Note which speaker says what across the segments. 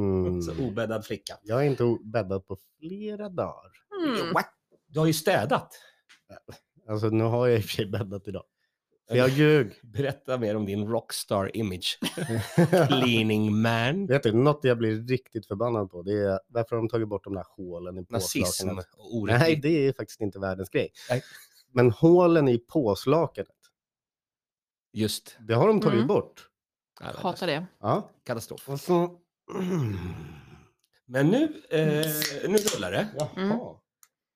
Speaker 1: Mm.
Speaker 2: Så obäddad flicka.
Speaker 1: Jag är inte o- bäddad på flera dagar.
Speaker 3: Mm.
Speaker 2: What? Du har ju städat.
Speaker 1: Alltså nu har jag i och för sig bäddat idag. För jag ljög.
Speaker 2: Berätta mer om din rockstar-image. Leaning man.
Speaker 1: Vet du, något jag blir riktigt förbannad på, det är varför har de tagit bort de där hålen i
Speaker 2: Nazism
Speaker 1: påslakanet?
Speaker 2: och orättvisa.
Speaker 1: Nej, det är faktiskt inte världens grej.
Speaker 2: Nej.
Speaker 1: Men hålen i påslakanet,
Speaker 2: Just.
Speaker 1: det har de tagit
Speaker 3: Mm.
Speaker 1: bort.
Speaker 2: Ja, det
Speaker 1: alltså.
Speaker 3: Hatar det.
Speaker 1: Ja.
Speaker 2: är Katastrof.
Speaker 1: Och så...
Speaker 2: Men nu, eh, nu rullar det.
Speaker 1: Jaha.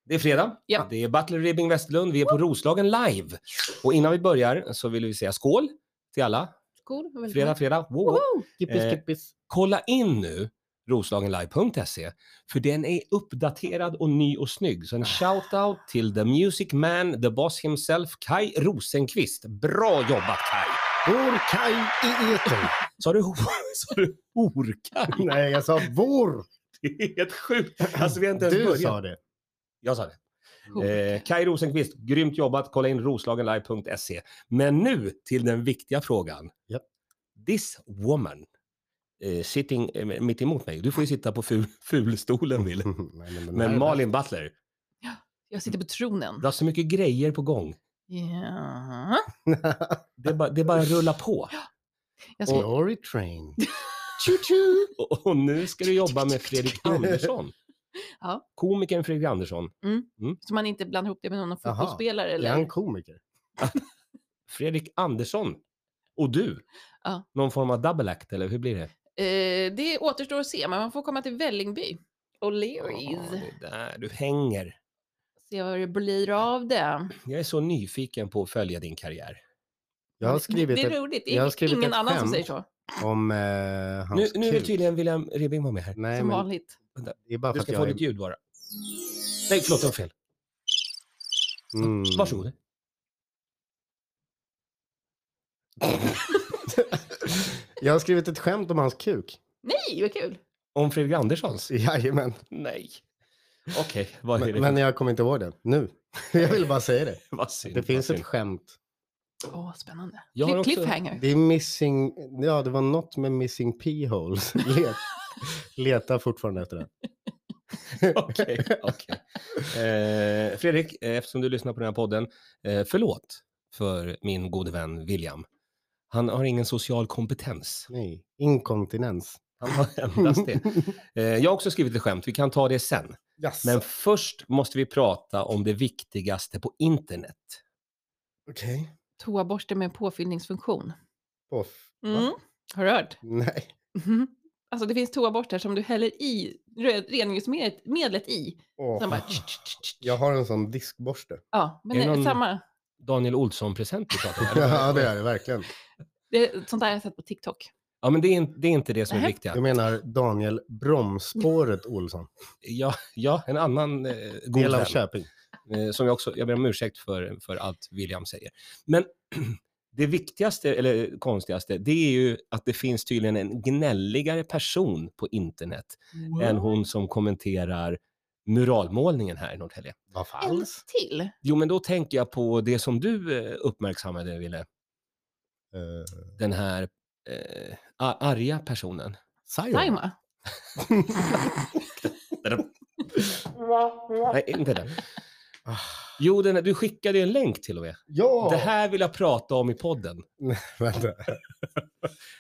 Speaker 2: Det är fredag.
Speaker 3: Ja.
Speaker 2: Det är Butler Ribbing Westlund. Vi är på Roslagen live. Och innan vi börjar så vill vi säga skål till alla.
Speaker 3: Cool. välkommen.
Speaker 2: Fredag, fredag. Wow, wow.
Speaker 3: Woho!
Speaker 1: Kippis,
Speaker 2: Eh,
Speaker 1: kippis.
Speaker 2: Kolla in nu roslagenlive.se för den är uppdaterad och ny och snygg.
Speaker 1: Ah.
Speaker 2: Så en shout-out till the music man, the boss himself, Kai Rosenqvist. Bra jobbat Kai!
Speaker 1: Vår Kaj i etern.
Speaker 2: Sa du, sa du horkaj?
Speaker 1: Nej, jag sa vår.
Speaker 2: Det är helt sjukt. Alltså vi har inte ens
Speaker 1: Du
Speaker 2: börjat.
Speaker 1: sa det.
Speaker 2: Jag sa det.
Speaker 3: Horkaj.
Speaker 2: Eh, Kai Rosenqvist, grymt jobbat. Kolla in roslagenlive.se. Men nu till den viktiga frågan.
Speaker 1: Japp.
Speaker 2: This woman eh, sitting eh, mitt emot mig. Du får ju sitta på ful, fulstolen, Wille.
Speaker 1: Nej, men den här är
Speaker 2: Men Malin Butler,
Speaker 3: Jag sitter på tronen.
Speaker 2: du har så alltså mycket grejer på gång.
Speaker 3: Ja.
Speaker 2: Det är bara, det är bara att rulla på.
Speaker 3: Jag
Speaker 1: bäst.
Speaker 3: ska...
Speaker 1: Glory train.
Speaker 2: Och, och nu ska du jobba med Fredrik Andersson.
Speaker 3: Ja.
Speaker 2: Komikern Fredrik Andersson.
Speaker 3: Så man inte blandar ihop det med någon
Speaker 1: Jaha.
Speaker 3: fotbollsspelare.
Speaker 1: Är
Speaker 3: Eller...
Speaker 1: han komiker?
Speaker 2: Fredrik Andersson och du.
Speaker 3: Ja.
Speaker 2: Någon form av double act, eller hur blir det?
Speaker 3: Eh, det återstår att se, men man får komma till Vällingby. Och
Speaker 2: Ja,
Speaker 3: Learys.
Speaker 2: det där, du hänger.
Speaker 3: Se vad det blir av det.
Speaker 2: Jag är så nyfiken på att följa din karriär.
Speaker 1: Jag har
Speaker 3: det
Speaker 1: skrivit
Speaker 3: är
Speaker 1: ett,
Speaker 3: roligt. Det
Speaker 1: jag har
Speaker 3: är
Speaker 1: skrivit
Speaker 3: ingen
Speaker 1: ett
Speaker 3: annan som
Speaker 1: skämt.
Speaker 3: säger så.
Speaker 1: om eh,
Speaker 2: Nu,
Speaker 1: hans
Speaker 2: nu vill
Speaker 1: kuk.
Speaker 2: tydligen William Ribbing vara med här.
Speaker 1: Nej,
Speaker 3: som
Speaker 1: men
Speaker 3: vanligt.
Speaker 1: det är bara för
Speaker 2: Du
Speaker 1: att
Speaker 2: ska få
Speaker 1: jag är...
Speaker 2: ditt ljud bara. Nej, förlåt, det var fel.
Speaker 1: Mm.
Speaker 2: Varsågod.
Speaker 1: Jag har skrivit ett skämt om hans kuk.
Speaker 3: Nej, vad kul!
Speaker 2: Om Fredrik Anderssons?
Speaker 1: Jajamän.
Speaker 2: Nej. Okej, vad är det?
Speaker 1: Mm. Men, men jag kommer inte ihåg det nu. Jag ville bara säga det.
Speaker 2: vad synd,
Speaker 1: Det finns
Speaker 2: vad
Speaker 1: ett
Speaker 2: synd.
Speaker 1: skämt.
Speaker 3: Åh, spännande.
Speaker 2: Jag har
Speaker 3: Cliff-
Speaker 2: också-
Speaker 3: Cliffhanger.
Speaker 1: Det är missing... Ja, det var något med missing p-holes. Let, letar fortfarande efter det.
Speaker 2: Okej, okej. Eh, Fredrik, eh, eftersom du lyssnar på den här podden, eh, förlåt för min gode vän William. Han har ingen social kompetens.
Speaker 1: Nej, inkontinens.
Speaker 2: Han har endast det. Eh, jag har också skrivit ett skämt, vi kan ta det sen.
Speaker 1: Jaså,
Speaker 2: Men först måste vi prata om det viktigaste på internet.
Speaker 1: okej.
Speaker 3: Toaborste med påfyllningsfunktion.
Speaker 1: Off. Va?
Speaker 3: Mm. Har du hört?
Speaker 1: Nej.
Speaker 3: Mhm. Alltså det finns toaborstar som du häller i re- rengöringsmedlet medlet i.
Speaker 1: Åh.
Speaker 3: Sen bara... tsch, tsch, tsch, tsch.
Speaker 1: Jag har en sån diskborste.
Speaker 3: Ja, men
Speaker 2: Är det
Speaker 3: det är
Speaker 2: någon-
Speaker 3: samma.
Speaker 2: Daniel Olsson-present vi pratar om. eller?
Speaker 1: ja, det är det verkligen.
Speaker 3: Det är, sånt där har jag sett på TikTok.
Speaker 2: Ja, men det är, inte, det är inte det som är
Speaker 3: Nähä.
Speaker 1: Du
Speaker 2: viktiga.
Speaker 1: menar Daniel Bromsspåret Olsson?
Speaker 2: Ja, ja en annan eh, god
Speaker 1: Del av
Speaker 2: vän.
Speaker 1: Köping.
Speaker 2: Eh, som jag också, jag ber om ursäkt för, för allt William säger. Men det viktigaste, eller konstigaste, det är ju att det finns tydligen en gnälligare person på internet
Speaker 3: Mm.
Speaker 2: än hon som kommenterar muralmålningen här i Norrtälje.
Speaker 1: Vad
Speaker 3: En
Speaker 1: falskt.
Speaker 3: till.
Speaker 2: Jo, men då tänker jag på det som du eh, uppmärksammade, Ville.
Speaker 1: Eh,
Speaker 2: den här eh, a- arga personen.
Speaker 1: Simon.
Speaker 3: Saima.
Speaker 2: Nej, inte den.
Speaker 1: Ah.
Speaker 2: Jo, den, du skickade en länk till och med.
Speaker 1: Ja!
Speaker 2: Det här vill jag prata om i podden.
Speaker 1: Vänta.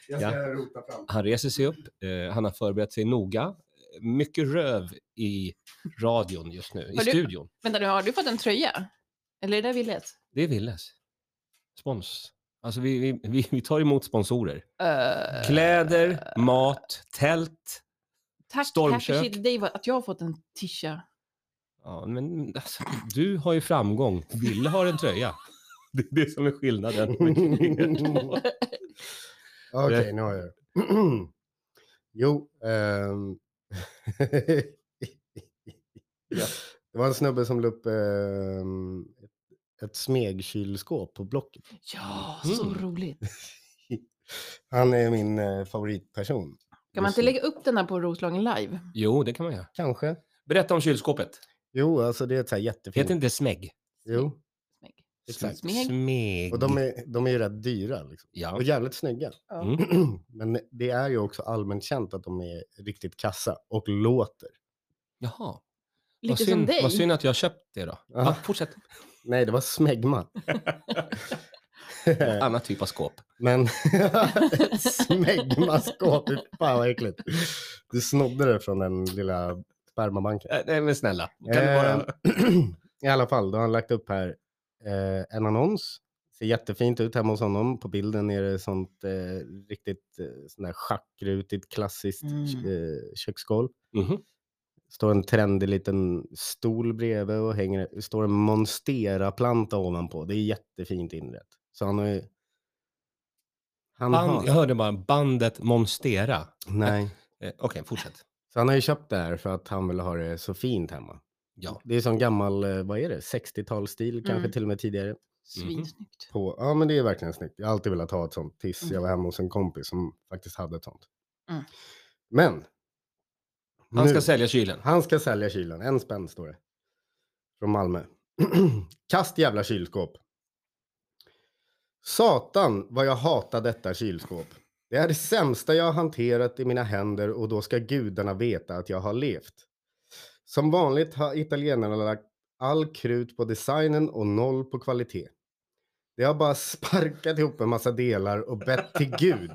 Speaker 1: Jag
Speaker 2: ska
Speaker 1: rota fram.
Speaker 2: Han reser sig upp, eh, han har förberett sig noga. Mycket röv i radion just nu, i
Speaker 3: Har du-
Speaker 2: studion.
Speaker 3: Vänta nu, har du fått en tröja? Eller är det där Willes?
Speaker 2: Det är Willes. Spons. Alltså vi, vi, vi, vi tar emot sponsorer.
Speaker 3: Uh,
Speaker 2: Kläder, mat, tält.
Speaker 3: tack
Speaker 2: stormkök.
Speaker 3: Happy Shit Dave att jag har fått en tisha.
Speaker 2: Ja, men alltså, du har ju framgång. Ville har en tröja. Det är det som är skillnaden. mellan er två.
Speaker 1: Okej, nu har jag det. Jo. ehm. ja. Det var en snubbe som la upp ehm, ett smegkylskåp på Blocket.
Speaker 3: Ja, så
Speaker 2: Mm.
Speaker 3: roligt.
Speaker 1: Han är min eh, favoritperson.
Speaker 3: Kan man
Speaker 1: just
Speaker 3: inte
Speaker 1: nu.
Speaker 3: lägga upp den här på Roslagen live?
Speaker 2: Jo, det kan man göra.
Speaker 1: Kanske.
Speaker 2: Berätta om kylskåpet.
Speaker 1: Jo, alltså det är ett så här jättefint.
Speaker 2: Heter inte det smägg?
Speaker 1: Jo.
Speaker 3: Snygg.
Speaker 1: Exakt.
Speaker 3: Smeg.
Speaker 2: Smeg.
Speaker 1: Och de är, de är ju rätt dyra. Liksom.
Speaker 2: Ja.
Speaker 1: Och jävligt snygga.
Speaker 3: Ja.
Speaker 2: Mm.
Speaker 1: Men det är ju också allmänt känt att de är riktigt kassa och låter.
Speaker 2: Jaha.
Speaker 3: Lite
Speaker 2: vad synd,
Speaker 3: som dig.
Speaker 2: Vad synd att jag köpt det då. Ja,
Speaker 1: Aha.
Speaker 2: fortsätt.
Speaker 1: Nej, det var smegma.
Speaker 2: Annat typ av skåp.
Speaker 1: Men smegmaskåp, fy fan vad äckligt. Du snodde det från den lilla spermabanken.
Speaker 2: Äh, nej, men snälla. Kan du
Speaker 1: Eh,
Speaker 2: bara...
Speaker 1: I alla fall, då har han lagt upp här eh, en annons. Ser jättefint ut hemma hos honom. På bilden är det sånt eh, riktigt eh, sån där schackrutigt klassiskt
Speaker 3: Mm.
Speaker 1: eh, köksgolv.
Speaker 2: Mhm.
Speaker 1: Står en trendig liten stol bredvid och hänger, står en monstera-planta ovanpå. Det är jättefint inrett. Så han har ju... Han
Speaker 2: Band,
Speaker 1: har,
Speaker 2: jag hörde bara bandet Monstera. Eh,
Speaker 1: Nej.
Speaker 2: Okej, fortsätt.
Speaker 1: Så han har ju köpt det här för att han vill ha det så fint hemma.
Speaker 2: Ja.
Speaker 1: Det är sån gammal, eh, vad är det, 60-talsstil kanske
Speaker 3: Mm.
Speaker 1: till och med tidigare.
Speaker 2: Mhm.
Speaker 3: Svinsnyggt.
Speaker 1: På, ja men det är verkligen snyggt. Jag har alltid velat ha ett sånt tills
Speaker 3: Mm.
Speaker 1: jag var hemma hos en kompis som faktiskt hade ett sånt.
Speaker 3: Mm.
Speaker 1: Men.
Speaker 2: Han ska
Speaker 1: nu-
Speaker 2: sälja kylen.
Speaker 1: Han ska sälja kylen. En spänn står det. Från Malmö. Kast jävla kylskåp. Satan vad jag hatar detta kylskåp. Det är det sämsta jag har hanterat i mina händer och då ska gudarna veta att jag har levt. Som vanligt har italienarna lagt all krut på designen och noll på kvalitet. De har bara sparkat ihop en massa delar och bett till Gud.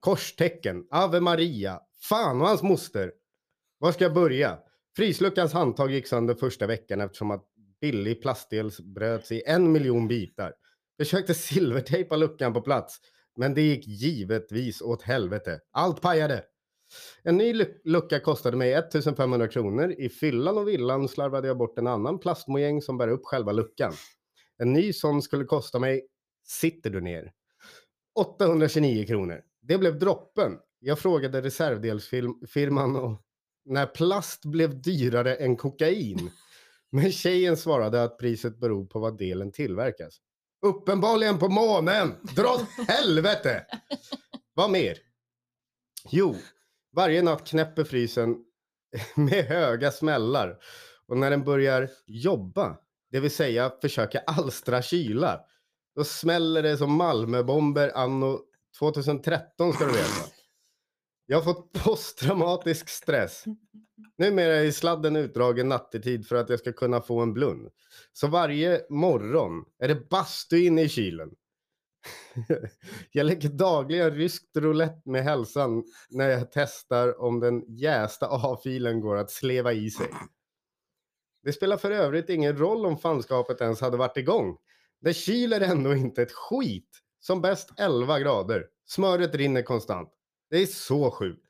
Speaker 1: Korstecken, Ave Maria, fan och hans moster. Var ska jag börja? Frisluckans handtag gick sönder första veckan eftersom att billig plastdel bröts i en miljon bitar. Försökte silvertejpa luckan på plats, men det gick givetvis åt helvete. Allt pajade. En ny lu- lucka kostade mig 1500 kronor. I fyllan och villan slarvade jag bort en annan plastmojäng som bär upp själva luckan. En ny sån skulle kosta mig, sitter du ner, 829 kronor. Det blev droppen. Jag frågade reservdelsfirman och när plast blev dyrare än kokain. Men tjejen svarade att priset beror på vad delen tillverkas. Uppenbarligen på månen! Dra åt helvete! Vad mer? Jo, varje natt knäpper frysen med höga smällar. Och när den börjar jobba, det vill säga försöka alstra kyla, då smäller det som Malmöbomber anno 2013 ska du veta. Jag har fått posttraumatisk stress. Numera är sladden utdragen nattetid för att jag ska kunna få en blund. Så varje morgon är det bastu inne i kylen. jag leker dagligen ryskt roulette med hälsan när jag testar om den jästa A-filen går att sleva i sig. Det spelar för övrigt ingen roll om fanskapet ens hade varit igång. Det kyler ändå inte ett skit. Som bäst 11 grader. Smöret rinner konstant. Det är så sjukt.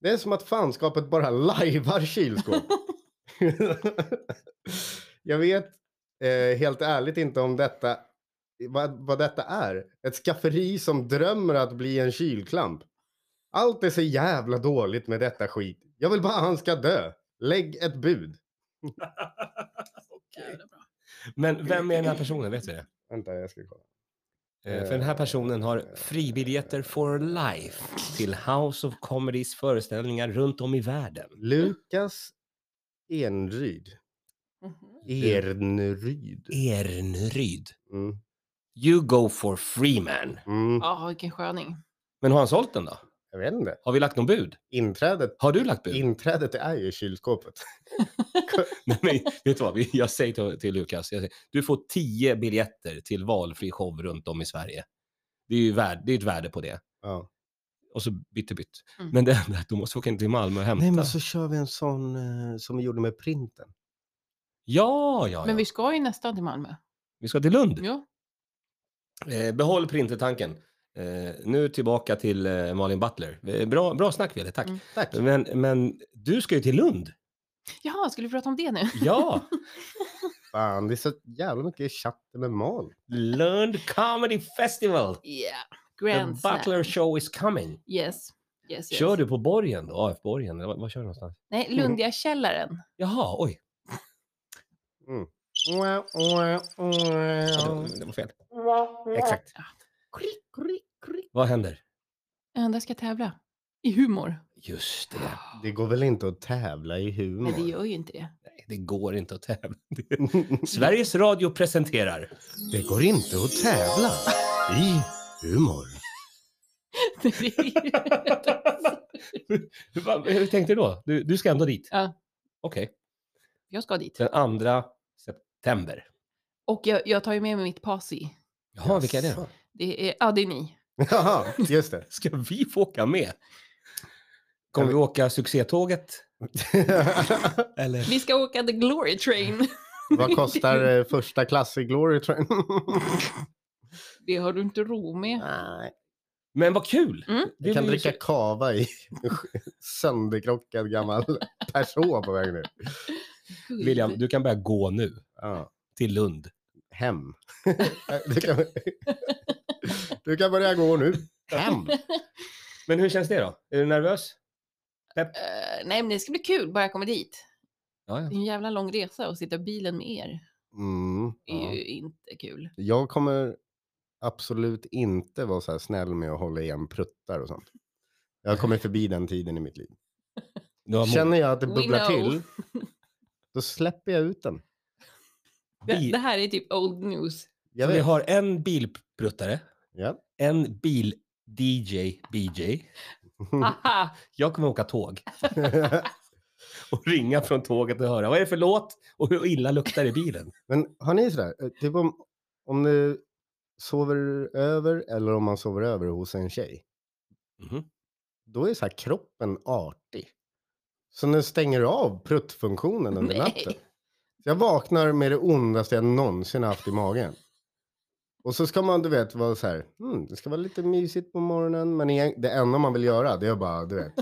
Speaker 1: Det är som att fanskapet bara lajvar kylskåp. jag vet eh, helt ärligt inte om detta, vad, vad detta är. Ett skafferi som drömmer att bli en kylklamp. Allt är så jävla dåligt med detta skit. Jag vill bara att han ska dö. Lägg ett bud.
Speaker 3: Jävla bra.
Speaker 2: Men vem är den här personen? Vet vi det?
Speaker 1: Vänta, jag ska kolla.
Speaker 2: Eh, För den här personen har fribiljetter for life till House of Comedys föreställningar runt om i världen.
Speaker 1: Lukas Enryd.
Speaker 3: Mhm.
Speaker 1: Ernryd.
Speaker 2: Ernryd.
Speaker 1: Mm.
Speaker 2: You go for free man.
Speaker 1: Mm.
Speaker 3: Ja, vilken sköning.
Speaker 2: Men har han sålt den då?
Speaker 1: Jag vet inte.
Speaker 2: Har vi lagt någon bud?
Speaker 1: Inträdet,
Speaker 2: Har du lagt bud?
Speaker 1: inträdet är ju kylskåpet.
Speaker 2: Nej, men vet du vad? Vi- Jag säger till, till Lukas, jag säger, du får tio biljetter till valfri show runt om i Sverige. Det är ju värd, det är ett värde på det.
Speaker 1: Ja.
Speaker 2: Och så bytte bytt.
Speaker 3: Mm.
Speaker 2: Men det enda är att du måste åka in till Malmö och hämta.
Speaker 1: Nej, men så kör vi en sån eh, som vi gjorde med printen.
Speaker 2: Ja, ja, ja.
Speaker 3: Men
Speaker 2: Vi...
Speaker 3: vi ska ju nästan till Malmö.
Speaker 2: ska till Lund.
Speaker 3: Ja.
Speaker 2: Eh, behåll printertanken. Eh, nu tillbaka till eh, Malin Butler. Eh, bra, bra snack, Wille. Tack.
Speaker 3: Mm.
Speaker 1: Tack.
Speaker 2: Men, men du ska ju till Lund.
Speaker 3: Jaha, skulle vi prata om det nu?
Speaker 2: Ja,
Speaker 1: Fan, det är så jävla mycket chatt med Mal.
Speaker 2: Lund Comedy Festival.
Speaker 3: Yeah.
Speaker 2: The
Speaker 3: Grand slam.
Speaker 2: Butler Show is coming.
Speaker 3: Yes. yes, yes.
Speaker 2: Kör du på borgen då? AF-borgen? Vad, vad kör du någonstans?
Speaker 3: Nej, Lundiakällaren.
Speaker 2: Jaha, oj. Ja, det, det var fel.
Speaker 1: Exakt.
Speaker 2: Vad händer?
Speaker 3: Ja, Där ska jag tävla. I humor.
Speaker 2: Just det.
Speaker 1: Det går väl inte att tävla i humor?
Speaker 3: Nej, det gör ju inte det.
Speaker 2: Nej, det går inte att tävla. Sveriges Radio presenterar.
Speaker 1: Det går inte att tävla i humor.
Speaker 2: Hur, vad- hur tänkte du då? Du, du ska ändå dit?
Speaker 3: Ja.
Speaker 2: Okej.
Speaker 3: jag ska dit.
Speaker 2: Den 2 september.
Speaker 3: Och jag, jag tar ju med mig mitt posse.
Speaker 2: Jaha, vilka är det?
Speaker 3: Det är, ja, det är ni.
Speaker 1: Jaha, just det.
Speaker 2: Ska vi få åka med? Kommer vi åka succétåget? Eller?
Speaker 3: Vi ska åka the glory train.
Speaker 1: Vad kostar eh, första klass i Glory Train?
Speaker 3: Det har du inte ro med.
Speaker 1: Nej,
Speaker 2: Men vad kul!
Speaker 3: Mm.
Speaker 2: Det
Speaker 1: jag kan
Speaker 2: blir ju
Speaker 1: dricka
Speaker 2: så-
Speaker 1: kava i sönderkrockad gammal person på väg nu.
Speaker 3: Gud.
Speaker 2: William, du kan börja gå nu
Speaker 1: Ja,
Speaker 2: till Lund.
Speaker 1: hem. Du Eh, kan, du kan börja gå nu. Hem.
Speaker 2: Men hur känns det då? Är du nervös?
Speaker 3: Eh, nej, men det ska bli kul bara jag kommer dit.
Speaker 2: Ja,
Speaker 3: Det är en jävla lång resa att sitta i bilen med er.
Speaker 1: Mm.
Speaker 3: Det är ju inte kul.
Speaker 1: Jag kommer absolut inte vara så här snäll med att hålla igen pruttar och sånt. Jag kommer förbi den tiden i mitt liv.
Speaker 2: Du har mod.
Speaker 1: Känner jag att det
Speaker 3: We
Speaker 1: bubblar
Speaker 3: know.
Speaker 1: till, då släpper jag ut den.
Speaker 3: Det,
Speaker 2: Bil-
Speaker 3: det här är typ old news.
Speaker 1: Jag
Speaker 2: Vi
Speaker 1: vet.
Speaker 2: har en bilpruttare,
Speaker 1: Ja.
Speaker 2: en bil-DJ, BJ.
Speaker 3: Aha!
Speaker 2: Jag kommer åka tåg och ringa från tåget och höra vad är det för låt och hur illa luktar det i bilen?
Speaker 1: Men har ni sådär, eh, typ om, om du sover över eller om man sover över hos en tjej,
Speaker 2: Mhm.
Speaker 1: då är så här kroppen artig. Så den stänger av pruttfunktionen under
Speaker 3: Nej.
Speaker 1: natten. Så Jag vaknar med det ondaste jag någonsin haft i magen. Och så ska man, du vet, vara så här, mm, det ska vara lite mysigt på morgonen, men igen- det enda man vill göra det är bara, du vet,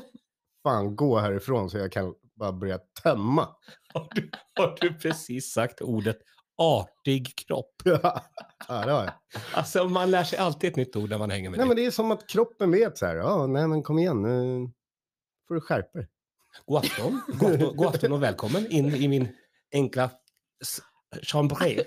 Speaker 1: fan gå härifrån så jag kan bara börja tömma.
Speaker 2: Har du, har du precis sagt ordet artig kropp?
Speaker 1: ja, det var jag.
Speaker 2: Alltså man lär sig alltid ett nytt ord när man hänger med
Speaker 1: Nej,
Speaker 2: dig.
Speaker 1: men det är som att kroppen vet så här, ja, nej men kom igen, nu får du skärpa dig.
Speaker 2: God afton, god afton, god afton och välkommen in i min enkla s- chambré.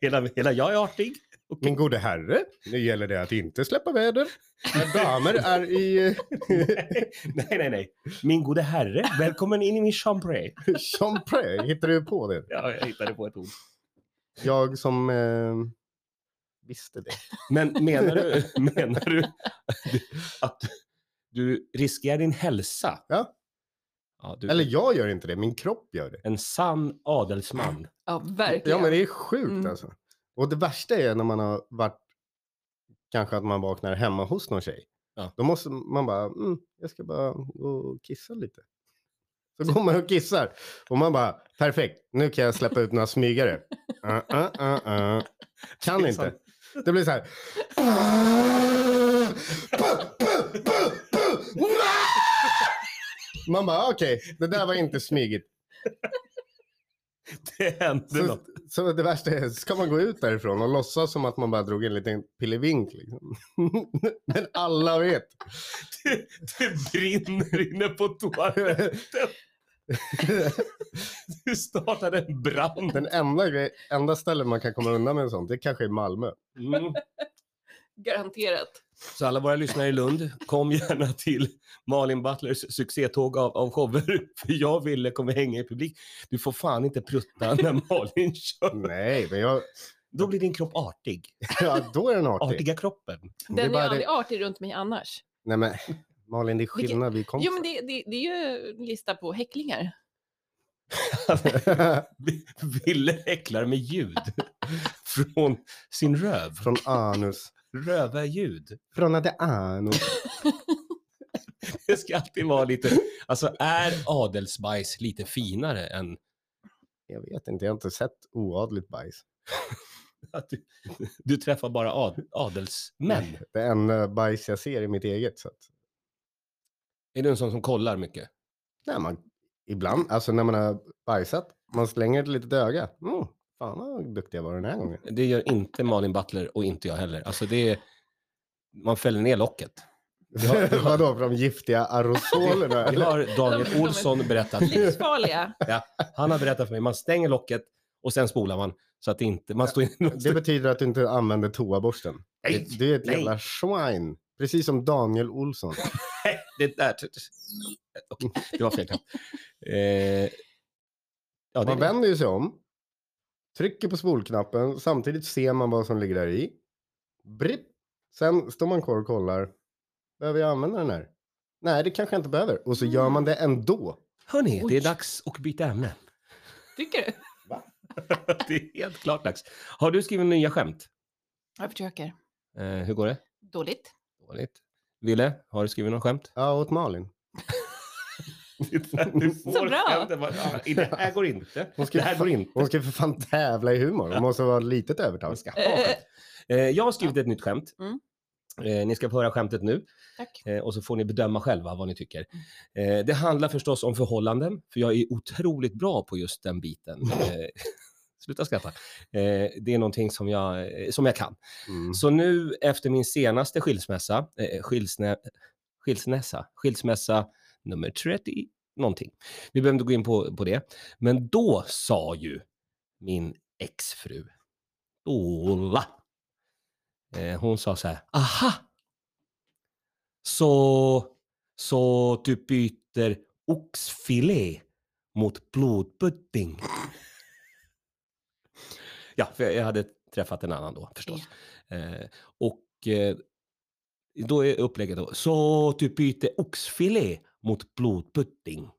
Speaker 2: Hela, hela jag är artig.
Speaker 1: Min gode herre, nu gäller det att inte släppa väder. När damer är i eh,
Speaker 2: nej, nej, nej. Min gode herre, välkommen in i min chambré.
Speaker 1: champré, hittar du på det?
Speaker 2: Ja, jag hittade på ett ord.
Speaker 1: Jag som eh, visste det.
Speaker 2: Men menar du, menar du att du riskerar din hälsa?
Speaker 1: Ja.
Speaker 2: ja du,
Speaker 1: Eller
Speaker 2: Eller...
Speaker 1: jag gör inte det, min kropp gör det.
Speaker 2: En sann adelsman.
Speaker 3: Ja, verkligen.
Speaker 1: Ja, men det är sjukt
Speaker 3: Mm.
Speaker 1: alltså. Och det värsta är när man har varit, kanske att man vaknar hemma hos någon tjej.
Speaker 2: Ja.
Speaker 1: Då måste man bara, mm, jag ska bara gå och kissa lite. Så går man och kissar och man bara, perfekt, nu kan jag släppa ut några smygare. Uh, uh, uh, uh. Kan
Speaker 2: Det är
Speaker 1: inte.
Speaker 2: sant.
Speaker 1: Det blir så här. Man bara, okej, det där var inte smygigt.
Speaker 2: Det hände
Speaker 1: Så,
Speaker 2: något.
Speaker 1: så det värsta är, ska man gå ut därifrån och låtsas som att man bara drog en liten pillevink liksom. Men alla vet.
Speaker 2: Det, det brinner inne på toaletten. Du startade en brand.
Speaker 1: Den enda, grej, enda stället man kan komma undan med en sån, det kanske är Malmö.
Speaker 2: Mm.
Speaker 3: Garanterat.
Speaker 2: Så alla våra lyssnare i Lund, kom gärna till Malin Butlers succétåg av, av shower. För jag ville kommer hänga i publik. Du får fan inte prutta när Malin kör.
Speaker 1: Nej, men jag,
Speaker 2: Då blir din kropp artig.
Speaker 1: ja, då är den artig.
Speaker 2: Artiga kroppen.
Speaker 1: Det är
Speaker 3: Den är,
Speaker 1: bara det-
Speaker 3: aldrig artig runt mig annars.
Speaker 1: Nej men, Malin det är skillnad, vi kom
Speaker 3: Jo, men det, det, det är ju en lista på häcklingar.
Speaker 2: Ville häcklar med ljud från sin röv.
Speaker 1: från anus.
Speaker 2: Röva ljud.
Speaker 1: Från att det är anus.
Speaker 2: Det ska alltid vara lite... Alltså är adelsbajs lite finare än
Speaker 1: Jag vet inte, jag har inte sett oadligt bajs.
Speaker 2: att du, du träffar bara ad, adelsmän?
Speaker 1: Det enda bajs jag ser är mitt eget. Så att,
Speaker 2: Är du en sån som kollar mycket?
Speaker 1: nej, man, ibland, alltså när man har bajsat, man slänger ett litet öga. Mm, fan vad duktig jag var den här gången.
Speaker 2: Det gör inte Malin Butler och inte jag heller. Alltså det är, man fäller ner locket. Det har- det har-
Speaker 1: Vadå, för de giftiga aerosolerna?
Speaker 2: Det har Daniel Olsson berättat.
Speaker 3: Livsfarliga.
Speaker 2: Han har berättat för mig. Man stänger locket och sen spolar man så att det inte... Man står
Speaker 1: Det betyder att du inte använder toaborsten.
Speaker 2: Nej,
Speaker 1: Du är ett
Speaker 2: nej.
Speaker 1: jävla swine. Precis som Daniel Olsson.
Speaker 2: Nej, det där... Okej, Okej, det var fel knapp. Eh, ja, det,
Speaker 1: Man
Speaker 2: är det.
Speaker 1: vänder ju sig om, trycker på spolknappen, samtidigt ser man vad som ligger där i. Bripp. Sen står man kvar och kollar. Behöver jag använda den här? Nej, det kanske jag inte behöver. Och så gör
Speaker 2: Mm.
Speaker 1: man det ändå.
Speaker 2: Hörni, det
Speaker 3: Oj.
Speaker 2: är dags att byta ämne.
Speaker 3: Tycker du?
Speaker 2: Det är helt klart dags. Har du skrivit nya skämt?
Speaker 3: Jag försöker.
Speaker 2: Eh, hur går det?
Speaker 3: Dåligt.
Speaker 2: Dåligt. Ville, har du skrivit något skämt?
Speaker 1: Ja, åt Malin.
Speaker 2: Du
Speaker 1: Så
Speaker 2: får
Speaker 3: bra.
Speaker 2: skämten bara, "Ah, Det här går inte.
Speaker 1: Hon ska
Speaker 2: Det här går inte.
Speaker 1: Hon ska ju för fan tävla i humor. Hon måste vara ett litet övertag.
Speaker 2: Man ska ha skämt. Eh, jag har skrivit ett nytt skämt.
Speaker 3: Mm.
Speaker 2: Eh, ni ska få höra skämtet nu
Speaker 3: Tack.
Speaker 2: eh, och så får ni bedöma själva vad ni tycker. Eh, det handlar förstås om förhållanden, för jag är otroligt bra på just den biten. Eh, sluta skratta. Eh, det är någonting som jag, eh, som jag kan.
Speaker 1: Mm.
Speaker 2: Så nu efter min senaste skilsmässa, eh, skilsnä, skilsmässa, skilsmässa nummer 30 någonting. Vi behöver inte gå in på, på det. Men då sa ju min exfru Ola. Eh, hon sa så här, aha! Så, så du byter oxfilé mot blodpudding. Ja, för jag hade träffat en annan då förstås. Eh, och eh, då är upplägget då, så du byter oxfilé mot blodpudding.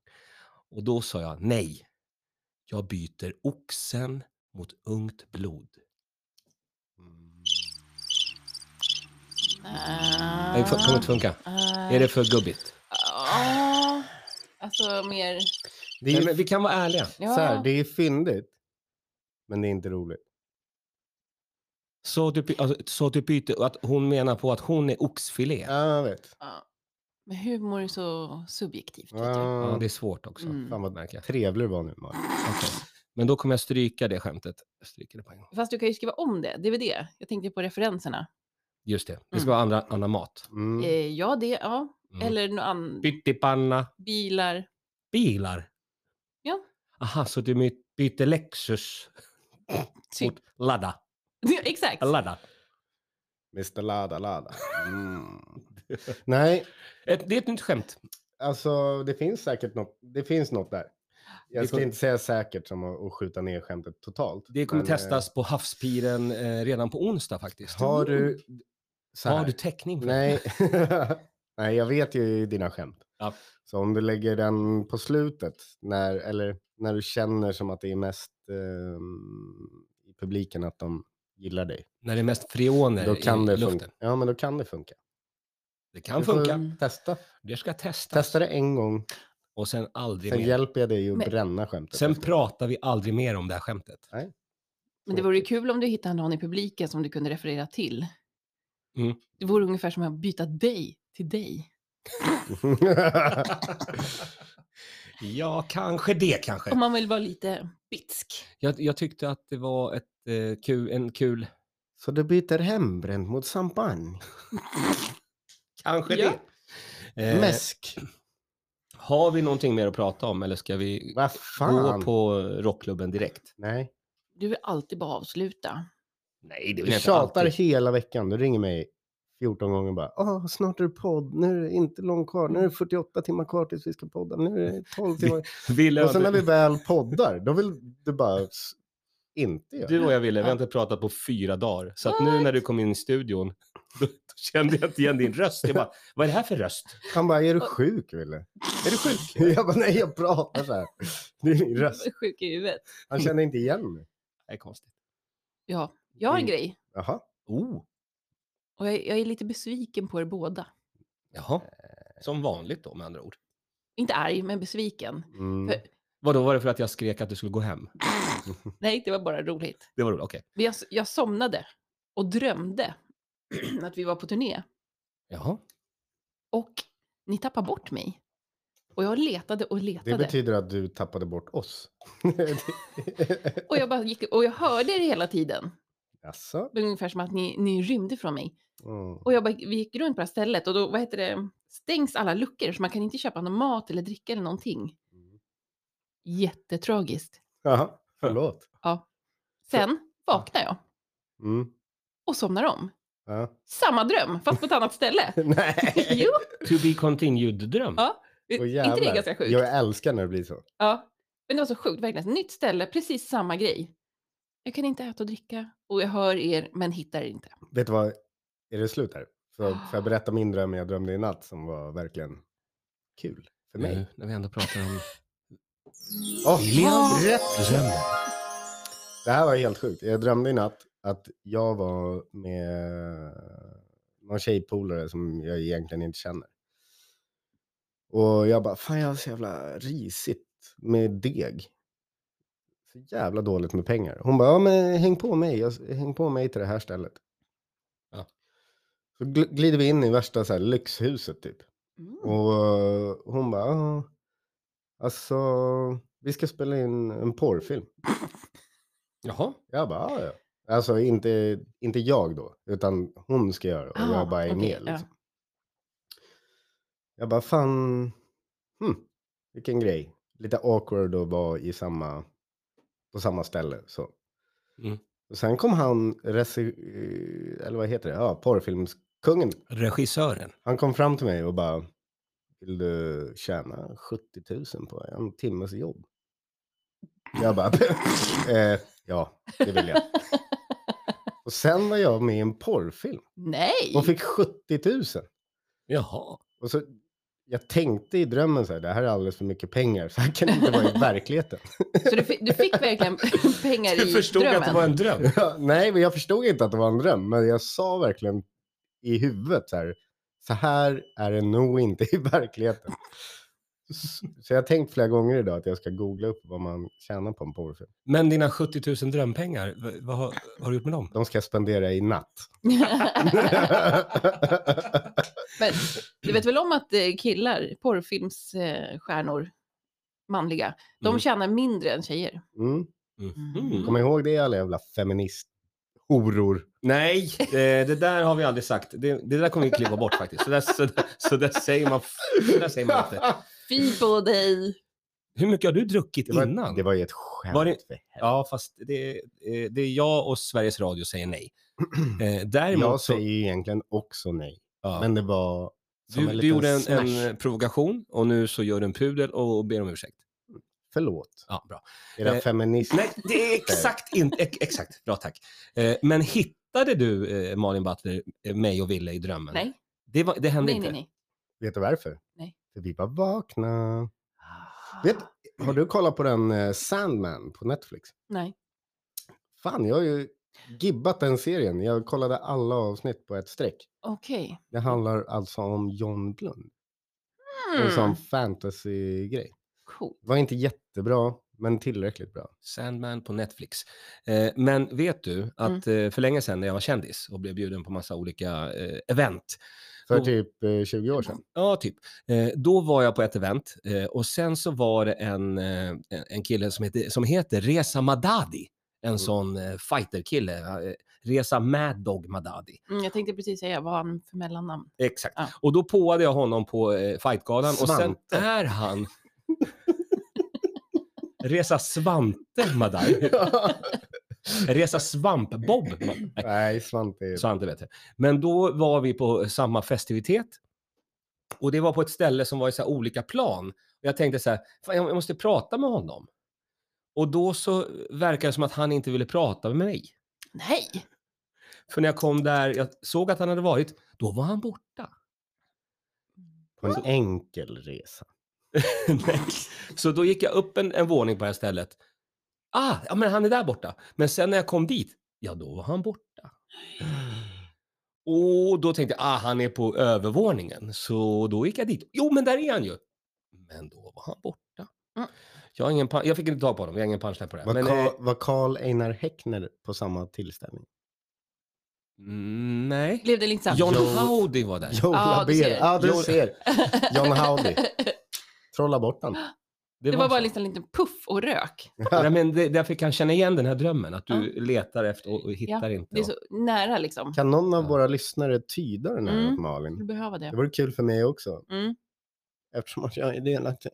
Speaker 2: Och då sa jag nej. Jag byter oxen mot ungt blod. Det fu- kommer inte funka.
Speaker 3: Ah.
Speaker 2: Är det för gubbigt?
Speaker 3: Eh, Ja, alltså mer...
Speaker 1: Det
Speaker 2: Nej,
Speaker 1: är,
Speaker 2: men vi kan vara ärliga.
Speaker 3: Ja.
Speaker 1: så här, det är fyndigt, men det är inte roligt.
Speaker 2: Så du, by- alltså, så du byter, att hon menar på att hon är oxfilé. Ja,
Speaker 1: Ja, jag vet.
Speaker 3: Ja. Men humor är så subjektivt. vet du.
Speaker 1: Ja,
Speaker 2: det är svårt också.
Speaker 3: Mm.
Speaker 1: Ah, Fan vad
Speaker 2: märker jag.
Speaker 1: trevlig du var nu, Malin.
Speaker 2: Okej. Men då kommer jag stryka det skämtet. Jag stryker det på en gång.
Speaker 3: Fast du kan ju skriva om det. Det är väl det. Jag tänkte på referenserna.
Speaker 2: Just det, det ska vara andra, annan mat.
Speaker 1: Mm.
Speaker 3: Eh, ja, det. Ja.
Speaker 2: Mm.
Speaker 3: Eller något annat.
Speaker 2: Pyttipanna,
Speaker 3: Bilar.
Speaker 2: bilar.
Speaker 3: Ja.
Speaker 2: Aha, så du my- byter Lexus
Speaker 3: Typ.
Speaker 2: mot Lada.
Speaker 3: Ja, Exakt.
Speaker 2: Lada.
Speaker 1: Mr Lada Lada. Mm. Nej,
Speaker 2: Ett, det är ett nytt skämt.
Speaker 1: alltså det finns säkert något. Det finns något där.
Speaker 2: Det
Speaker 1: Jag ska
Speaker 2: kom-
Speaker 1: inte säga säkert som att, att skjuta ner skämtet totalt.
Speaker 2: Det kommer
Speaker 1: men, eh,
Speaker 2: testas på havspiren eh, redan på onsdag faktiskt. Mm.
Speaker 1: Har du... Så
Speaker 2: Har
Speaker 1: här.
Speaker 2: du täckning? för det?
Speaker 1: Nej. Nej, jag vet ju dina skämt.
Speaker 2: Ja.
Speaker 1: Så om du lägger den på slutet, när, eller när du känner som att det är mest ehm, i publiken att de gillar dig,
Speaker 2: När det är mest freoner
Speaker 1: då kan
Speaker 2: i
Speaker 1: det
Speaker 2: luften.
Speaker 1: funka. Ja, men då kan det funka.
Speaker 2: Det kan
Speaker 1: Du får
Speaker 2: funka.
Speaker 1: Testa.
Speaker 2: Det ska testas.
Speaker 1: Testa det en gång,
Speaker 2: Och sen aldrig
Speaker 1: sen
Speaker 2: mer.
Speaker 1: hjälper jag dig att
Speaker 3: Men-
Speaker 1: bränna skämtet.
Speaker 2: Sen
Speaker 1: efter.
Speaker 2: pratar vi aldrig mer om det här skämtet.
Speaker 3: Men det vore ju kul om du hittade någon i publiken som du kunde referera till.
Speaker 2: Mm.
Speaker 3: Det vore ungefär som att byta dig till dig.
Speaker 2: ja, kanske det kanske.
Speaker 3: Om man vill vara lite bitsk.
Speaker 2: Jag, jag tyckte att det var ett, eh, kul, en kul...
Speaker 1: Så du byter hembränt mot champagne?
Speaker 2: Kanske
Speaker 3: Ja.
Speaker 2: det. Eh,
Speaker 1: Mäsk?
Speaker 2: Har vi någonting mer att prata om eller ska vi
Speaker 1: Vad
Speaker 2: gå
Speaker 1: fan?
Speaker 2: på rockklubben direkt?
Speaker 1: Nej.
Speaker 3: Du vill alltid bara avsluta.
Speaker 2: Nej, det vill
Speaker 1: Du
Speaker 2: jag inte
Speaker 1: tjatar
Speaker 2: alltid.
Speaker 1: hela veckan. Du ringer mig 14 gånger bara. Åh, snart är det podd. Nu är det inte långt kvar. Nu är det 48 timmar kvar tills vi ska podda. Nu är det 12 timmar.
Speaker 2: Ville,
Speaker 1: Och sen när vi
Speaker 2: du,
Speaker 1: väl poddar, då vill du bara s- inte göra det.
Speaker 2: du och jag Ville, vi har
Speaker 3: Ja.
Speaker 2: inte pratat på fyra dagar. Så att nu när du kom in i studion, då, då kände jag inte igen din röst. Jag bara, vad är det här för röst?
Speaker 1: Han bara, är du sjuk Wille?
Speaker 2: Är du sjuk?
Speaker 1: Jag bara, nej jag pratar så här. Det är min röst.
Speaker 3: Sjuk i huvudet.
Speaker 1: Han känner inte igen mig.
Speaker 2: Det är konstigt.
Speaker 3: Ja, jag har en
Speaker 1: Mm.
Speaker 3: grej.
Speaker 1: Jaha.
Speaker 2: Oh,
Speaker 3: Och jag, jag är lite besviken på er båda.
Speaker 2: jaha. Eh, Som vanligt då med andra ord.
Speaker 3: Inte arg, men besviken.
Speaker 1: Mm.
Speaker 3: För-
Speaker 2: Vadå, var det för att jag skrek att du skulle gå hem?
Speaker 3: Nej, det var bara roligt.
Speaker 2: Det var roligt, okej.
Speaker 3: Men jag, jag somnade och drömde att vi var på turné.
Speaker 2: Jaha.
Speaker 3: Och ni tappade bort mig. Och jag letade och letade.
Speaker 1: Det betyder att du tappade bort oss.
Speaker 3: Och jag, bara gick, och jag hörde er hela tiden.
Speaker 1: Jaså?
Speaker 3: Det var ungefär som att ni, ni rymde från mig.
Speaker 1: Mm.
Speaker 3: Och jag bara, vi gick runt på det här stället och då vad heter det, stängs alla luckor så man kan inte köpa någon mat eller dricka eller någonting. Jättetragiskt.
Speaker 1: Jaha, förlåt.
Speaker 3: Sen vaknar jag
Speaker 1: Mm.
Speaker 3: och somnar om.
Speaker 1: Ja.
Speaker 3: Samma dröm, fast på ett annat ställe.
Speaker 1: Nej.
Speaker 3: jo,
Speaker 2: To be continued-dröm.
Speaker 3: ja. Är
Speaker 1: Åh,
Speaker 3: inte det
Speaker 1: jävlar.
Speaker 3: ganska sjukt?
Speaker 1: Jag älskar när det blir så.
Speaker 3: Ja. Men det var så sjukt, verkligen. Nytt ställe, precis samma grej. Jag kan inte äta och dricka och jag hör er men hittar er inte.
Speaker 1: Vet du vad? Är det slut här? Får, får jag berätta min dröm jag drömde i natt som var verkligen kul för mig?
Speaker 2: Nu när vi ändå pratar om...
Speaker 1: Åh,
Speaker 2: William.
Speaker 1: rätt dröm. Det här var helt sjukt. Jag drömde i natt att jag var med någon tjejpolare som jag egentligen inte känner. Och jag bara, fan jag har så jävla risigt med deg. Så jävla dåligt med pengar. Hon bara, ja men häng på mig, jag, häng på mig till det här stället.
Speaker 2: Ja.
Speaker 1: Så gl- glider vi in i värsta så här, lyxhuset typ.
Speaker 3: Mm.
Speaker 1: Och eh, hon bara, "Ja, alltså vi ska spela in en porrfilm.
Speaker 2: Jaha.
Speaker 1: Jag bara, "Ja, ja. Alltså inte, inte jag då, utan hon ska göra det och
Speaker 3: Ah,
Speaker 1: jag bara är
Speaker 3: okej,
Speaker 1: med.
Speaker 3: ja.
Speaker 1: Liksom. Jag bara, fan, hmm, vilken grej. Lite awkward att vara i samma, på samma ställe. Så.
Speaker 2: Mm.
Speaker 1: Och sen kom han, regi- eller vad heter det, ja, porrfilmskungen
Speaker 2: Regissören.
Speaker 1: han kom fram till mig och bara, vill du tjäna 70 000 på en timmes jobb? Jag bara, eh, ja, det vill jag. Och sen var jag med i en porrfilm
Speaker 3: Nej!
Speaker 1: och fick 70 000.
Speaker 2: Jaha.
Speaker 1: Och så, jag tänkte i drömmen så här, det här är alldeles för mycket pengar, så här kan det inte vara i verkligheten.
Speaker 3: Så du, fi- du fick verkligen pengar i drömmen?
Speaker 2: en dröm.
Speaker 1: Ja, Nej, men jag förstod inte att det var en dröm, men jag sa verkligen i huvudet så här, så här är det nog inte i verkligheten. S- Så jag har tänkt flera gånger idag att jag ska googla upp vad man tjänar på en porrfilm.
Speaker 2: Men dina 70 000 drömpengar, v- vad har, vad har du gjort med dem?
Speaker 1: De ska jag spendera i natt.
Speaker 3: Men du vet väl om att eh, killar, porrfilmsstjärnor, manliga, de
Speaker 2: Mm.
Speaker 3: tjänar mindre än tjejer.
Speaker 1: Mm.
Speaker 2: Mhm.
Speaker 1: Kom ihåg det alla jävla feminist-horor.
Speaker 2: Nej, eh, det där har vi aldrig sagt. Det, det där kommer vi kliva bort faktiskt. Så där, så, där, så där säger man, så där säger man inte.
Speaker 3: Fy på dig!
Speaker 2: Hur mycket har du druckit
Speaker 1: Det var,
Speaker 2: innan?
Speaker 1: det var ju ett skämt.
Speaker 2: Var det-
Speaker 1: för helvete.
Speaker 2: Ja, fast det, eh, det är jag och Sveriges Radio säger nej. Eh, däremot
Speaker 1: jag
Speaker 2: så-
Speaker 1: säger ju egentligen också nej,
Speaker 2: ja.
Speaker 1: men det var som
Speaker 2: du,
Speaker 1: en
Speaker 2: du
Speaker 1: liten
Speaker 2: gjorde en,
Speaker 1: smash.
Speaker 2: en provokation och nu så gör du en pudel och ber om ursäkt.
Speaker 1: Förlåt,
Speaker 2: Ja, bra.
Speaker 1: era
Speaker 2: Eh,
Speaker 1: feminist...
Speaker 2: Nej, det är exakt inte... ex- Exakt, bra tack. Eh, men hittade du, eh, Malin Butler, eh, mig och Ville i drömmen?
Speaker 3: Nej,
Speaker 2: Det, var, det hände
Speaker 3: nej,
Speaker 2: inte?
Speaker 3: nej, nej.
Speaker 1: Vet du varför?
Speaker 3: Nej.
Speaker 1: För vi var vakna. Vet, har du kollat på den eh, Sandman på Netflix?
Speaker 3: Nej.
Speaker 1: Fan, jag har ju gibbat den serien. Jag kollade alla avsnitt på ett streck.
Speaker 3: Okej.
Speaker 1: Det
Speaker 2: Mm.
Speaker 1: handlar alltså om John Blund. En
Speaker 3: Mm.
Speaker 1: sån fantasy-grej.
Speaker 3: Cool.
Speaker 1: Var inte jättebra, men tillräckligt bra.
Speaker 2: Sandman på Netflix. Eh, men vet du att
Speaker 3: Mm.
Speaker 2: eh, för länge sedan när jag var kändis och blev bjuden på massa olika eh, event,
Speaker 1: För
Speaker 2: Oh.
Speaker 1: typ eh, 20 år sedan.
Speaker 2: ja typ, eh, då var jag på ett event eh, och sen så var det en, eh, en kille som heter, som heter Reza Madadi, en
Speaker 1: Mm.
Speaker 2: sån eh, fighterkille, eh, Reza Mad Dog Madadi.
Speaker 3: Mm, jag tänkte precis säga vad han för mellannamn.
Speaker 2: Exakt.
Speaker 3: Ja.
Speaker 2: Och då påade jag honom på eh, Fightgalan och sen
Speaker 1: Svante.
Speaker 2: är han Resa Svante Madaj. Resa Svamp-Bob. Madaj. Nej,
Speaker 1: Nej, Svante. är-
Speaker 2: Svante vet jag. Men då var vi på samma festivitet. Och det var på ett ställe som var i så här olika plan. Och jag tänkte så här, "Fan, jag jag måste prata med honom. Och då så verkar det som att han inte ville prata med mig.
Speaker 3: Nej!
Speaker 2: För när jag kom där, jag såg att han hade varit, då var han borta.
Speaker 1: På en enkel resa.
Speaker 2: Nej. Så då gick jag upp en, en våning på det här stället. Ah, ja, men han är där borta. Men sen när jag kom dit, ja då var han borta. Och då tänkte jag, ah han är på övervåningen. Så då gick jag dit. Jo men där är han ju. Men då var han borta.
Speaker 3: Mm.
Speaker 2: Jag, har ingen pan- jag fick inte tag på honom, jag har ingen punchline på det.
Speaker 1: Var,
Speaker 2: här. Men, eh,
Speaker 1: Carl, var Carl Einar Häckner på samma tillställning?
Speaker 2: mm, nej.
Speaker 3: Blev det liksom...
Speaker 2: John
Speaker 1: Jo.
Speaker 2: Howdy var där.
Speaker 1: Joe
Speaker 3: Ja, du
Speaker 1: Labero.
Speaker 3: ser.
Speaker 1: Ja, du
Speaker 2: Joe-
Speaker 1: ser. John Howdy. Trolla bort han.
Speaker 3: Det var bara
Speaker 2: så.
Speaker 3: liksom en liten puff och rök.
Speaker 2: Nej, men det, där fick han känna igen den här drömmen, att du letar efter och, och hittar inte.
Speaker 3: Det är så nära liksom.
Speaker 1: Kan någon av
Speaker 2: Ja.
Speaker 1: våra lyssnare tyda den här
Speaker 3: Mm.
Speaker 1: åt Malin?
Speaker 3: Du behöver
Speaker 1: Det
Speaker 3: det.
Speaker 1: vore kul för mig också,
Speaker 3: Mm.
Speaker 1: eftersom att jag är delaktig.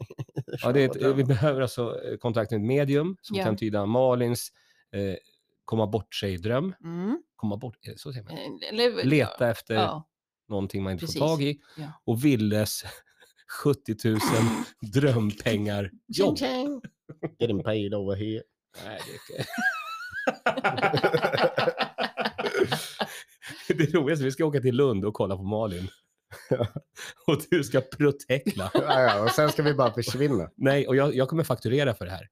Speaker 2: Ja, det är ett, vi behöver alltså eh, kontakt med ett medium som
Speaker 3: Ja.
Speaker 2: kan tyda Malins eh, komma bort sig-dröm.
Speaker 3: Mm.
Speaker 2: Komma bort, är det så säger man?
Speaker 3: Eh, Eller,
Speaker 2: Leta efter
Speaker 3: Ja.
Speaker 2: någonting man inte
Speaker 3: precis.
Speaker 2: får tag i.
Speaker 3: Ja.
Speaker 2: Och Willes 70 000 drömpengar jobb.
Speaker 3: Tjing, tjing.
Speaker 1: Getting paid over here.
Speaker 2: Nej, det, är inte- det roligaste, vi ska åka till Lund och kolla på Malin. och du ska protekla.
Speaker 1: Ja, ja, och sen ska vi bara försvinna.
Speaker 2: Nej, och jag, jag kommer fakturera för det här.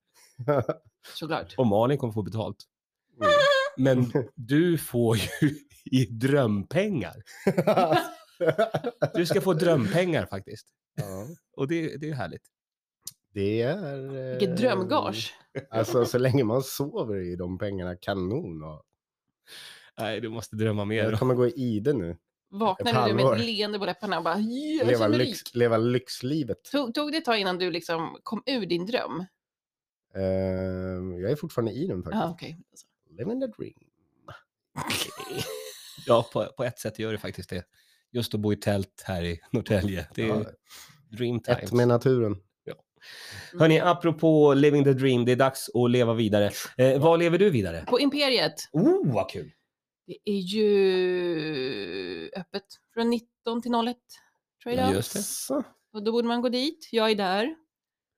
Speaker 3: Såklart.
Speaker 2: Och Malin kommer få betalt.
Speaker 1: Mm.
Speaker 2: Men du får ju i drömpengar. Du ska få drömpengar faktiskt.
Speaker 1: ja,
Speaker 2: Och det, det är härligt.
Speaker 1: det är... eh,
Speaker 3: Vilket drömgage.
Speaker 1: Alltså så länge man sover är ju de pengarna kanon. Och
Speaker 2: Nej, du måste drömma mer.
Speaker 1: jag kommer gå i ide nu.
Speaker 3: Vaknade
Speaker 1: Ett
Speaker 3: du med
Speaker 1: halvår.
Speaker 3: ett leende på läpparna och bara "Ja, jag
Speaker 1: Leva,
Speaker 3: känner mig
Speaker 1: lyx,
Speaker 3: rik.
Speaker 1: leva lyxlivet.
Speaker 3: Tog, tog det ett tag innan du liksom kom ur din dröm?
Speaker 1: Eh, jag är fortfarande i den faktiskt.
Speaker 3: Ja, okej.
Speaker 1: Living the dream.
Speaker 2: Ja, på, på ett sätt gör det faktiskt det. Just att bo i tält här i Norrtälje. Det är
Speaker 1: Ja,
Speaker 2: dream times.
Speaker 1: ett med naturen.
Speaker 2: Hörni, apropå living the dream, det är dags att leva vidare. Eh, vad lever du vidare?
Speaker 3: På Imperiet,
Speaker 2: Oh, vad kul!
Speaker 3: det är ju öppet från 19 till 01. Tror jag idag.
Speaker 2: Just det.
Speaker 1: Så.
Speaker 3: Och då borde man gå dit. Jag är där.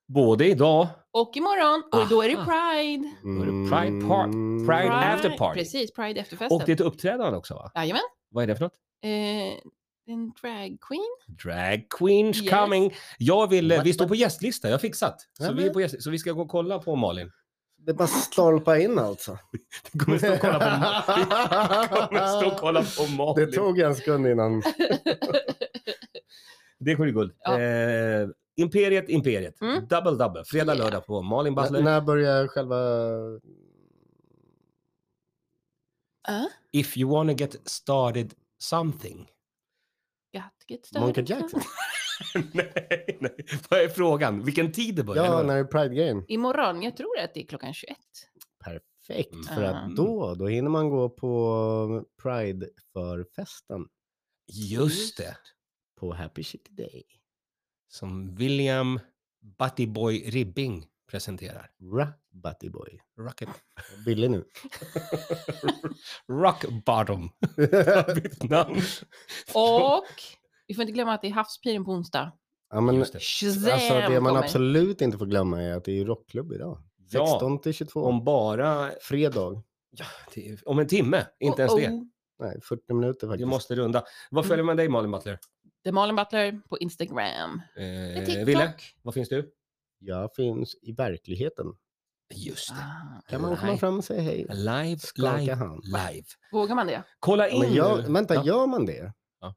Speaker 2: Både idag,
Speaker 3: Och imorgon, och då är det
Speaker 2: Aha.
Speaker 3: Pride.
Speaker 2: Då är det Pride Park.
Speaker 1: Mm.
Speaker 2: Pride after party.
Speaker 3: Precis, Pride efterfesten.
Speaker 2: och det är ett uppträdande också va?
Speaker 3: Jajamän.
Speaker 2: Vad är det för något?
Speaker 3: Eh, en drag queen.
Speaker 2: Drag queens
Speaker 3: Yes.
Speaker 2: coming! Jag vill, eh,
Speaker 1: What,
Speaker 2: vi står
Speaker 1: what?
Speaker 2: på gästlista, jag har fixat. Så,
Speaker 1: Ja,
Speaker 2: vi, är
Speaker 1: men-
Speaker 2: på gäst, så vi ska gå och kolla på Malin.
Speaker 1: Det är bara att stolpa in alltså.
Speaker 2: Vi kommer stå och kolla på, vi kommer stå och kolla på Malin.
Speaker 1: Det tog en sekund innan.
Speaker 2: Det kommer bli guld.
Speaker 3: Ja.
Speaker 2: Eh, imperiet, Imperiet.
Speaker 3: Mm.
Speaker 2: Double double. Fredag,
Speaker 3: Yeah.
Speaker 2: lördag på Malin
Speaker 1: N-
Speaker 2: Butler.
Speaker 1: när börjar själva...
Speaker 3: Ah,
Speaker 2: If you wanna get started something.
Speaker 3: got to get started.
Speaker 1: Monkey Jackson?
Speaker 2: nej, nej. Vad är frågan? Vilken tid det börjar?
Speaker 1: Ja,
Speaker 2: eller vad?
Speaker 1: när det är Pride-grejen.
Speaker 3: Imorgon, jag tror att det är klockan 21.
Speaker 1: Perfekt,
Speaker 2: Mm.
Speaker 1: för
Speaker 3: Mm.
Speaker 1: att då, då hinner man gå på Pride för festen
Speaker 2: Just det.
Speaker 1: på Happy Chic Day.
Speaker 2: Som William Buttyboy Ribbing presenterar.
Speaker 1: Ra, Butty Boy.
Speaker 2: Rocket.
Speaker 1: Billig nu.
Speaker 2: Rock Bottom. Mitt namn.
Speaker 3: Och vi får inte glömma att det är havspiren på onsdag.
Speaker 1: ja, men,
Speaker 2: Just det.
Speaker 3: Shazam
Speaker 1: alltså, det man
Speaker 3: kommer.
Speaker 1: absolut inte får glömma är att det är rockklubb idag.
Speaker 2: Ja.
Speaker 1: 16 till 22.
Speaker 2: Om bara...
Speaker 1: Fredag.
Speaker 2: Ja, det är- om en timme. Inte ens
Speaker 3: Oh,
Speaker 2: det.
Speaker 3: oh.
Speaker 1: Nej, 40 minuter faktiskt.
Speaker 2: Vi måste runda. Vad följer man dig Malin Butler?
Speaker 3: Det är Malin Butler på Instagram. Det är
Speaker 2: Eh,
Speaker 3: TikTok.
Speaker 2: Ville, vad finns du?
Speaker 1: Jag finns i verkligheten.
Speaker 2: Just det.
Speaker 3: Ah,
Speaker 1: Kan man komma
Speaker 2: Nej.
Speaker 1: fram och säga hej?
Speaker 2: Live,
Speaker 1: Skaka
Speaker 2: live,
Speaker 1: hand.
Speaker 2: live.
Speaker 3: vågar man det?
Speaker 2: Kolla
Speaker 1: Ja,
Speaker 2: in
Speaker 1: men jag,
Speaker 2: nu.
Speaker 1: vänta,
Speaker 2: Ja.
Speaker 1: gör man det?
Speaker 2: Ja.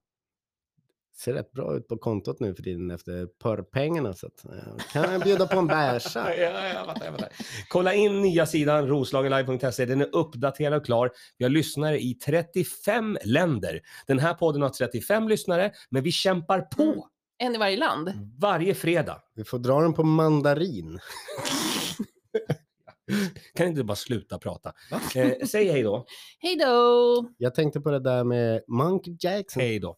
Speaker 1: Ser rätt bra ut på kontot nu för tiden efter porrpengarna. Så att, eh, kan jag bjuda på en bärsa?
Speaker 2: Ja, ja, jag fattar, jag fattar. Kolla in nya sidan roslagenlive.se. Den är uppdaterad och klar. Vi har lyssnare i 35 länder. Den här podden har 35 lyssnare, men vi kämpar
Speaker 3: Mm.
Speaker 2: på
Speaker 3: En i varje land.
Speaker 2: varje fredag.
Speaker 1: Vi får dra den på mandarin.
Speaker 2: Kan inte du bara sluta prata? Eh, säg hej då.
Speaker 3: Hej då!
Speaker 1: Jag tänkte på det där med Monkey Jackson.
Speaker 2: Hej då.